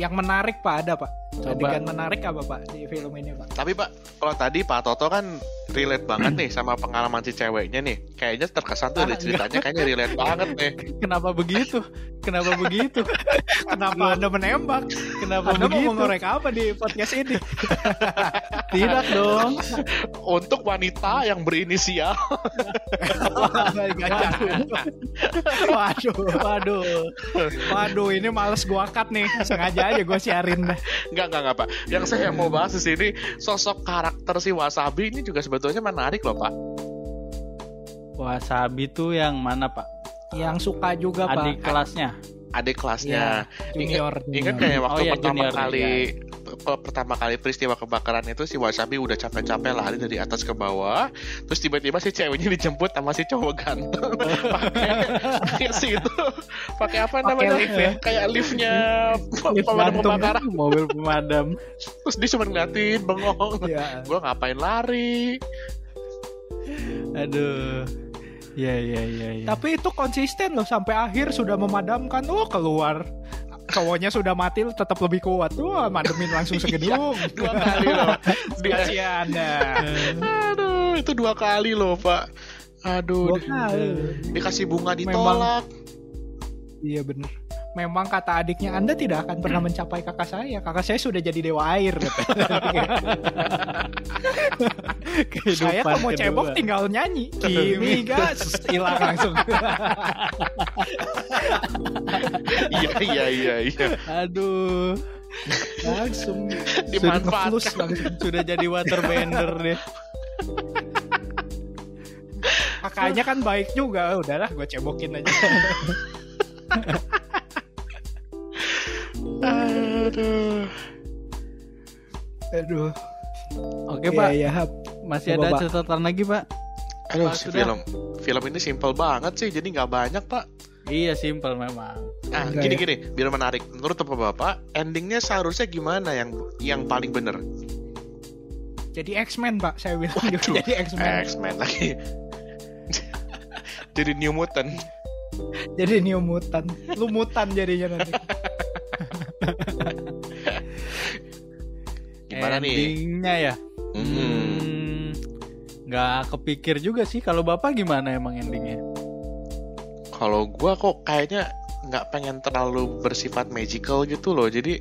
Speaker 2: yang menarik pak ada pak
Speaker 1: Coba.
Speaker 2: adegan menarik apa pak di film ini pak
Speaker 3: Tapi Pak, kalau tadi Pak Toto kan relate banget nih sama pengalaman si ceweknya nih. Kayaknya terkesan tuh
Speaker 1: Ah,
Speaker 3: dari ceritanya kayaknya relate banget nih.
Speaker 1: Kenapa begitu? Kenapa begitu?
Speaker 2: kenapa anda menembak
Speaker 1: Kenapa
Speaker 2: anda mau
Speaker 1: begitu?
Speaker 2: mengorek apa di podcast *laughs* ini
Speaker 1: Tidak dong.
Speaker 3: Untuk wanita yang berinisial *laughs*
Speaker 2: waduh waduh waduh ini males gua cut nih sengaja aja gua siarin dah
Speaker 3: Enggak, enggak, enggak, Pak. Yang saya mau bahas di sini sosok karakter si Wasabi ini juga sebetulnya menarik loh, Pak.
Speaker 1: Wasabi tuh yang mana pak?
Speaker 2: yang suka juga
Speaker 1: Adik
Speaker 2: pak
Speaker 1: kelasnya.
Speaker 3: Adik kelasnya.
Speaker 2: Iya. junior
Speaker 3: Ingat
Speaker 2: Hmm. junior.
Speaker 3: kayak waktu
Speaker 1: Oh, iya,
Speaker 3: pertama
Speaker 1: junior,
Speaker 3: kali pe- pertama kali peristiwa kebakaran itu si Wasabi udah capek-capek lari dari atas ke bawah, terus tiba-tiba si ceweknya dijemput sama si cowok ganteng *laughs* pakai pakai si itu pakai apa
Speaker 2: Pakai
Speaker 3: namanya
Speaker 2: lift ya?
Speaker 3: kayak liftnya pe-
Speaker 2: Lift ya.
Speaker 3: pemadam
Speaker 2: gantung.
Speaker 3: kebakaran
Speaker 1: Mobil pemadam.
Speaker 3: terus dia cuma ngeliatin bengong
Speaker 2: Iya.
Speaker 3: gue ngapain lari
Speaker 1: Aduh.
Speaker 2: Iya,
Speaker 1: Ya ya ya ya.
Speaker 2: tapi itu konsisten loh sampai akhir sudah memadamkan oh keluar cowoknya sudah mati tetap lebih kuat tuh mademin langsung segedung
Speaker 3: dua kali loh dia
Speaker 2: kasihan dah
Speaker 3: aduh itu dua kali loh pak
Speaker 2: Dua
Speaker 3: aduh
Speaker 2: kali.
Speaker 3: dikasih
Speaker 2: Memang.
Speaker 3: bunga ditolak
Speaker 2: Iya bener Memang kata adiknya Anda tidak akan pernah mencapai kakak saya Kakak saya sudah jadi dewa air kata. Saya
Speaker 1: Kehidupan
Speaker 2: kalau mau
Speaker 1: kedua.
Speaker 2: cebok tinggal nyanyi Kimi gas Iya. Hilang langsung
Speaker 3: iya iya iya iya
Speaker 1: Aduh.
Speaker 2: Langsung
Speaker 3: dimanfaatkan
Speaker 2: Terus langsung.
Speaker 1: Sudah jadi waterbender deh.
Speaker 2: Kakaknya kan baik juga Udahlah gue cebokin aja
Speaker 3: aduh
Speaker 2: Aduh
Speaker 1: Oke
Speaker 2: Iya,
Speaker 1: pak.
Speaker 2: iya, Hap.
Speaker 1: Masih
Speaker 2: Coba,
Speaker 1: ada
Speaker 2: Pak.
Speaker 1: catatan lagi pak?
Speaker 3: Aduh,
Speaker 1: Pak,
Speaker 3: si
Speaker 1: sudah.
Speaker 3: film film ini simple banget sih, jadi nggak banyak pak.
Speaker 1: Iya simpel memang.
Speaker 3: Nah,
Speaker 2: Enggak
Speaker 3: gini gini, biar menarik. Menurut bapak bapak, endingnya seharusnya gimana yang yang paling bener?
Speaker 2: Jadi X-Men pak Saya bilang
Speaker 3: Waduh.
Speaker 2: Jadi X-Men
Speaker 3: X-Men lagi. *laughs* jadi New Mutant.
Speaker 2: Jadi New Mutant Lu mutan jadinya nanti
Speaker 3: Gimana nih?
Speaker 1: Endingnya ya.
Speaker 3: Hmm.
Speaker 1: Hmm, Nggak kepikir juga sih kalau bapak gimana emang endingnya?
Speaker 3: Kalau gua kok kayaknya nggak pengen terlalu bersifat magical gitu loh. Jadi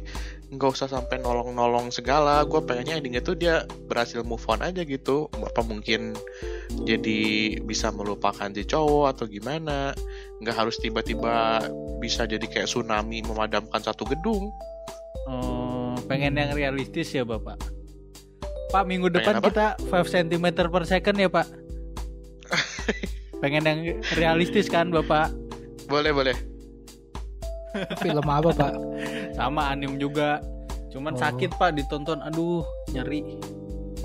Speaker 3: nggak usah sampai nolong-nolong segala. Gua pengennya endingnya tuh dia berhasil move on aja gitu. Apa mungkin jadi bisa melupakan si cowok atau gimana? Nggak harus tiba-tiba bisa jadi kayak tsunami memadamkan satu gedung.
Speaker 1: Oh, pengen yang realistis ya bapak. Pak minggu
Speaker 3: Pengen
Speaker 1: depan
Speaker 3: apa?
Speaker 1: kita 5 cm per second ya *laughs* pak. pengen yang realistis kan bapak?
Speaker 3: Boleh boleh.
Speaker 2: Film apa pak
Speaker 1: Sama anim juga. Cuman
Speaker 2: Oh.
Speaker 1: sakit pak ditonton, aduh nyeri.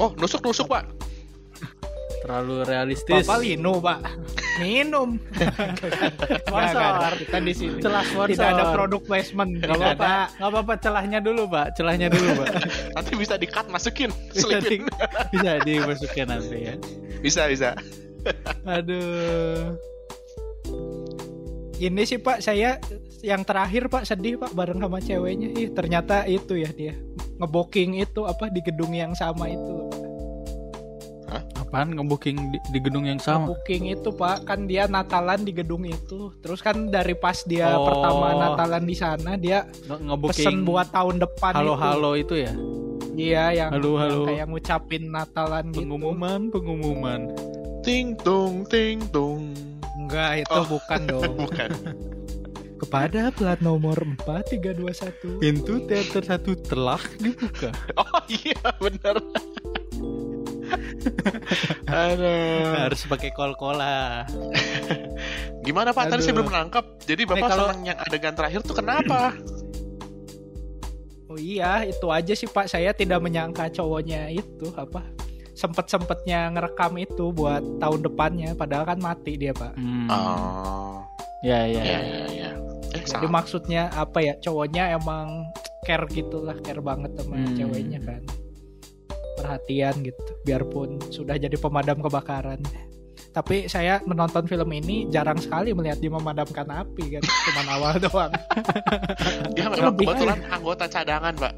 Speaker 3: Oh nusuk nusuk pak.
Speaker 1: Terlalu realistis.
Speaker 2: Bapak Lino pak Minum Nggak, nggak ada. Kita di sini
Speaker 1: Celah sponsor.
Speaker 2: Tidak ada produk placement
Speaker 1: Gak
Speaker 2: Tidak
Speaker 1: apa-apa,
Speaker 2: ada
Speaker 1: nggak apa-apa celahnya dulu pak, celahnya *laughs* dulu
Speaker 2: *laughs*
Speaker 1: pak.
Speaker 3: Nanti bisa di cut masukin *laughs*
Speaker 1: bisa, di,
Speaker 3: selipin.
Speaker 1: bisa dimasukin nanti ya.
Speaker 3: Bisa bisa.
Speaker 1: Aduh.
Speaker 2: Ini sih Pak, saya yang terakhir Pak sedih Pak bareng sama ceweknya. Ih, ternyata itu ya dia. Ngeboking itu apa di gedung yang sama itu.
Speaker 1: Apaan ngebooking di, di gedung yang sama?
Speaker 2: Booking itu Pak, kan dia Natalan di gedung itu. Terus kan dari pas dia
Speaker 1: Oh.
Speaker 2: pertama Natalan di sana dia
Speaker 1: Nge- Ngebooking
Speaker 2: pesen buat tahun depan itu.
Speaker 1: halo-halo itu ya?
Speaker 2: Iya, yang
Speaker 1: Halo, halo.
Speaker 2: yang kayak ngucapin Natalan gitu.
Speaker 1: Pengumuman, pengumuman.
Speaker 3: Ting tung ting tung.
Speaker 2: Enggak, itu
Speaker 3: Oh.
Speaker 2: bukan
Speaker 1: *laughs*
Speaker 2: dong.
Speaker 3: bukan
Speaker 2: Kepada plat nomor 4321.
Speaker 1: Pintu teater satu telah dibuka.
Speaker 3: oh iya bener Aduh.
Speaker 1: Harus pakai kol-kola.
Speaker 3: Gimana Pak? Tadi saya
Speaker 2: Aduh.
Speaker 3: belum menangkap. Jadi Bapak
Speaker 1: Nih, kalau-
Speaker 3: senang yang adegan terakhir tuh kenapa?
Speaker 2: Oh iya, itu aja sih Pak. Saya tidak menyangka cowoknya itu apa sempet-sempetnya ngerekam itu buat tahun depannya padahal kan mati dia pak
Speaker 1: Hmm.
Speaker 3: Oh,
Speaker 1: Ya ya.
Speaker 3: ya
Speaker 1: ya.
Speaker 3: ya ya. Eh,
Speaker 2: jadi
Speaker 3: salah.
Speaker 2: maksudnya apa ya cowoknya emang care gitulah care banget sama
Speaker 1: Hmm.
Speaker 2: ceweknya kan perhatian gitu biarpun sudah jadi pemadam kebakaran tapi saya menonton film ini jarang sekali melihat dia memadamkan api kan *laughs* cuman awal doang
Speaker 3: Dia memang
Speaker 2: lebih-
Speaker 3: kebetulan anggota cadangan, Pak.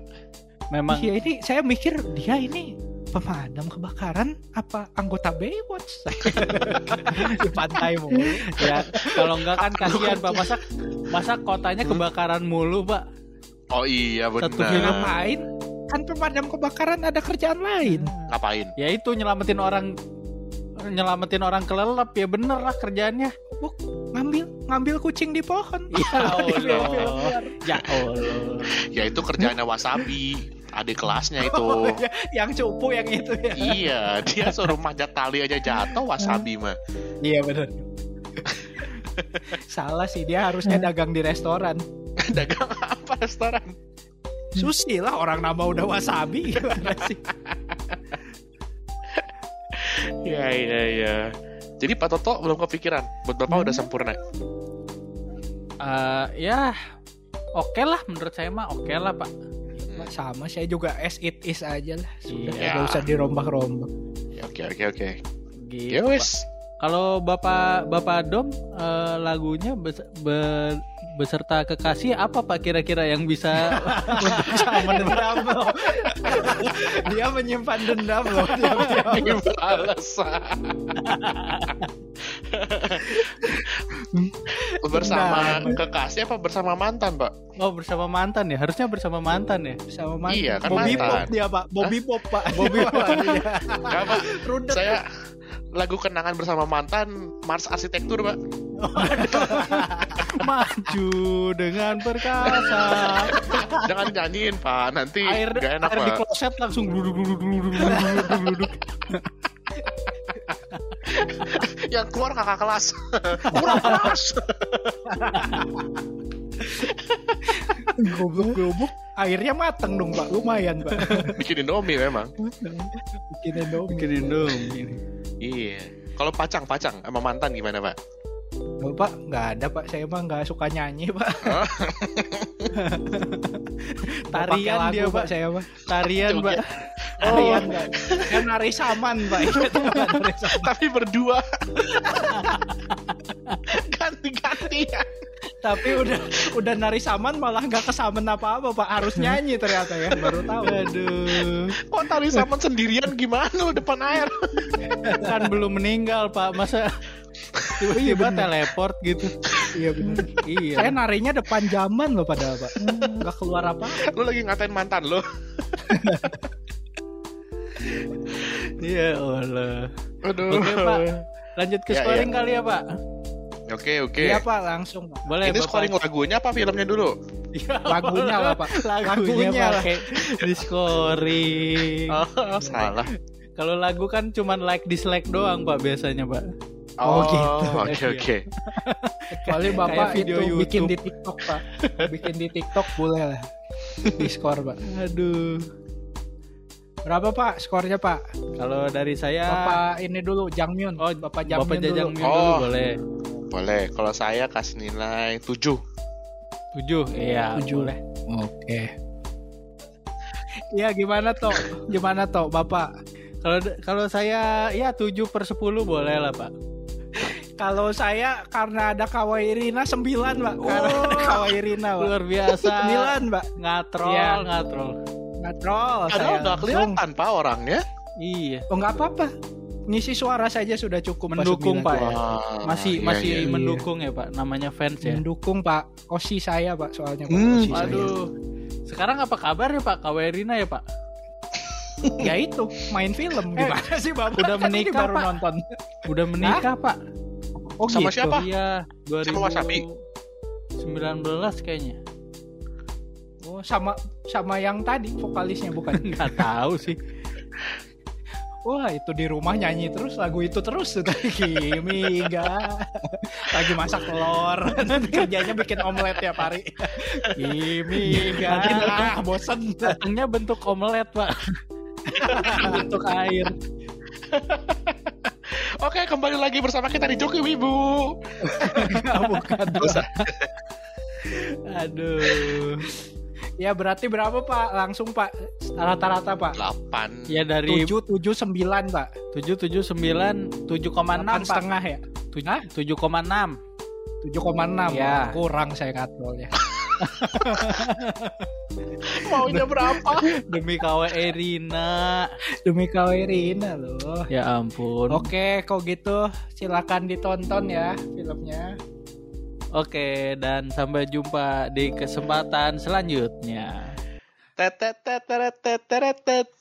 Speaker 1: Memang
Speaker 2: Iya ini saya mikir dia ini pemadam kebakaran apa anggota Baywatch *laughs* di pantai mulu.
Speaker 1: *laughs* ya kalau enggak kan kasihan Pak masa masa kotanya kebakaran mulu, Pak.
Speaker 3: Oh iya benar.
Speaker 1: Satu film
Speaker 2: Ngapain? Kan pemadam kebakaran ada kerjaan lain.
Speaker 3: Ngapain?
Speaker 1: Ya itu nyelamatin orang nyelamatin orang kelelep ya bener lah kerjaannya.
Speaker 2: Ngambil ngambil kucing di pohon. *laughs*
Speaker 1: Ya Allah.
Speaker 2: Film-film
Speaker 1: Ya Allah.
Speaker 3: Ya itu kerjaannya Wasabi. Adik kelasnya itu.
Speaker 2: Oh, iya. yang cupu yang itu ya.
Speaker 3: iya, dia suruh manjat tali aja jatuh Wasabi mah.
Speaker 2: Iya benar. *laughs* Salah sih dia harusnya dagang di restoran.
Speaker 3: Dagang apa restoran?
Speaker 2: Susi lah orang nama udah wasabi *laughs* gimana sih?
Speaker 3: Iya iya iya. Jadi Pak Toto belum kepikiran. Buat Bapak udah sempurna.
Speaker 1: Eh, ya oke lah menurut saya mah oke lah Pak.
Speaker 2: Nah, Sama saya juga as it is aja lah. Sudah
Speaker 1: Iya.
Speaker 2: nggak usah dirombak-rombak.
Speaker 3: Ya, Oke oke oke.
Speaker 1: Gitu.
Speaker 3: Ya
Speaker 1: Pak.
Speaker 3: wes.
Speaker 1: Kalau Bapak Bapak Dom eh, lagunya bes- be- beserta kekasih apa Pak kira-kira yang bisa
Speaker 2: Menyimpan dendam loh. dia menyimpan dendam loh. Dia
Speaker 3: Ini balasan. bersama
Speaker 2: Benar.
Speaker 3: kekasih apa bersama mantan, Pak?
Speaker 1: Oh bersama mantan ya? Harusnya bersama mantan ya?
Speaker 2: sama mantan.
Speaker 3: Iya, kan
Speaker 2: Bobby
Speaker 3: mantan.
Speaker 2: Pop dia pak. Bobby Pop pak. Bobby Pop. Iya.
Speaker 3: Nggak, Pak.
Speaker 2: Rudet.
Speaker 3: Saya lagu kenangan bersama mantan Mars Arsitektur, Pak.
Speaker 1: Maju dengan perkasa.
Speaker 3: Jangan nyanyiin, Pak. Nanti
Speaker 1: Air,
Speaker 3: nggak enak,
Speaker 1: air di
Speaker 3: Pak.
Speaker 1: kloset langsung duduk duduk duduk duduk duduk.
Speaker 3: Yang Ya, keluar kakak kelas. *laughs* Kurang kelas.
Speaker 2: Goblok goblok. Airnya mateng dong pak. Lumayan pak.
Speaker 3: Bikin Indomie memang.
Speaker 2: Bikin Indomie.
Speaker 1: Bikin dong.
Speaker 3: Iya. Kalau pacang, pacang sama mantan gimana, Pak?
Speaker 2: Nggak, pak nggak ada pak. Saya mah nggak suka nyanyi pak. *laughs* Nggak pakai
Speaker 1: Tarian
Speaker 2: lagu,
Speaker 1: dia, Pak.
Speaker 2: Saya mah. Oh.
Speaker 1: Tarian
Speaker 3: Coba. Oh,
Speaker 1: Pak.
Speaker 3: Iya.
Speaker 2: Tarian pak. Kan nari saman *laughs* pak. Ingat, Iya, Pak, nari saman.
Speaker 3: Tapi berdua. *laughs* Ganti-gantian.
Speaker 2: Tapi udah udah nari saman malah nggak kesamen apa apa pak. Harus nyanyi ternyata ya. Baru tahu.
Speaker 1: Aduh.
Speaker 3: Kok tali saman sendirian gimana lu depan air?
Speaker 1: Kan belum meninggal Pak. Masa tiba-tiba teleport gitu.
Speaker 2: Oh, Iya benar. Saya
Speaker 1: Iya.
Speaker 2: narinya depan zaman loh padahal pak Gak keluar apa
Speaker 3: Lu lagi ngatain mantan lo.
Speaker 1: Ya Allah.
Speaker 3: Aduh.
Speaker 1: Oke Pak. Lanjut ke
Speaker 3: Ya,
Speaker 1: scoring kali ya Pak.
Speaker 3: Oke, oke.
Speaker 2: Iya pak langsung Pak.
Speaker 1: Boleh
Speaker 3: Ini
Speaker 1: Bapak.
Speaker 3: scoring lagunya apa filmnya dulu?
Speaker 1: Ya
Speaker 2: Lagunya
Speaker 1: Allah.
Speaker 2: lah pak
Speaker 1: Lagunya
Speaker 2: Lagunya lah
Speaker 1: pakai di scoring.
Speaker 3: Oh, salah.
Speaker 1: Kalau lagu kan cuman like dislike doang Pak biasanya Pak.
Speaker 2: Oh, gitu.
Speaker 3: Oke, oke.
Speaker 1: Iya.
Speaker 2: Kecuali bapak
Speaker 1: Kayak video
Speaker 2: itu bikin
Speaker 1: YouTube.
Speaker 2: di tiktok pak Bikin di tiktok boleh lah Di skor pak
Speaker 1: Aduh.
Speaker 2: Berapa pak skornya pak
Speaker 1: Kalau dari
Speaker 3: Ya.
Speaker 1: saya
Speaker 2: Bapak ini dulu Jangmyun
Speaker 1: Oh,
Speaker 2: Bapak Jangmyun
Speaker 1: Bapak Jajang
Speaker 2: dulu
Speaker 1: Mio dulu
Speaker 3: Oh.
Speaker 1: boleh.
Speaker 3: Boleh. Kalau saya kasih nilai 7.
Speaker 1: 7. Iya.
Speaker 2: Tujuh.
Speaker 1: boleh.
Speaker 2: Oke Iya gimana toh Gimana toh bapak
Speaker 1: Kalau kalau saya ya 7 per 10 boleh lah, Pak.
Speaker 2: Kalau saya karena ada Kawaii Rina 9 pak Karena ada Kawaii Rina Oh. pak
Speaker 1: Luar
Speaker 2: *laughs*
Speaker 1: biasa.
Speaker 2: 9 pak
Speaker 1: Ngatrol,
Speaker 2: Iya.
Speaker 1: ngatrol.
Speaker 2: Ngatrol saya
Speaker 3: Padahal nggak
Speaker 2: langsung.
Speaker 3: kelihatan pak orangnya.
Speaker 1: Iya.
Speaker 2: Oh nggak apa-apa. Ngisi suara saja sudah cukup Pak,
Speaker 1: Mendukung,
Speaker 2: sembilan.
Speaker 1: Pak, ya.
Speaker 3: Wah,
Speaker 1: Masih
Speaker 3: iya,
Speaker 1: masih
Speaker 3: iya.
Speaker 2: iya.
Speaker 1: mendukung ya, Pak. Namanya fans ya.
Speaker 2: Mendukung Pak. Osi saya Pak soalnya Pak.
Speaker 3: Hmm,
Speaker 2: Osi saya.
Speaker 1: Waduh. Sekarang apa kabar ya, Pak? Kawerina ya, Pak?
Speaker 2: Ya itu main film gimana sih Eh, Bapak?
Speaker 1: udah
Speaker 2: Kan ini
Speaker 1: menikah,
Speaker 2: baru
Speaker 1: Pak.
Speaker 2: nonton.
Speaker 1: Udah menikah, Pak.
Speaker 2: Oh
Speaker 3: Sama
Speaker 2: gitu.
Speaker 3: siapa?
Speaker 1: Iya,
Speaker 3: Sama Wasabi?
Speaker 1: 2019 kayaknya. *laughs*
Speaker 2: Oh, sama sama yang tadi vokalisnya bukan.
Speaker 1: *laughs* Nggak tahu sih.
Speaker 2: Wah, itu di rumah nyanyi terus lagu itu terus tuh tadi Kimi enggak. Lagi masak telur. Kerjanya bikin omelet tiap hari. Kimi
Speaker 1: Nanti
Speaker 2: *laughs* enggak. Ah, bosen.
Speaker 1: Datangnya bentuk omelet, Pak. bentuk air.
Speaker 3: Oke, kembali lagi bersama kita di Joki Wibu.
Speaker 1: Iya.
Speaker 2: Bukan.
Speaker 3: Dosa.
Speaker 1: Aduh.
Speaker 2: Ya berarti berapa Pak? Langsung Pak. Rata-rata Pak.
Speaker 3: Delapan.
Speaker 1: Ya dari
Speaker 2: 779 Pak.
Speaker 1: 779
Speaker 2: Enam
Speaker 1: 7,6 Pak.
Speaker 2: setengah ya.
Speaker 1: Tuj- 7,6.
Speaker 2: 7,6
Speaker 1: Iya.
Speaker 2: kurang saya ya. katolnya.
Speaker 3: Maunya
Speaker 1: *laughs*
Speaker 3: berapa?
Speaker 1: Demi KWE Rina.
Speaker 2: Demi kawerina loh.
Speaker 1: Ya ampun. Oke,
Speaker 2: Oke, kalau gitu silakan ditonton ya filmnya.
Speaker 1: dan sampai jumpa di kesempatan selanjutnya.
Speaker 3: Tetet, tetet, tetet, tetet, tetet.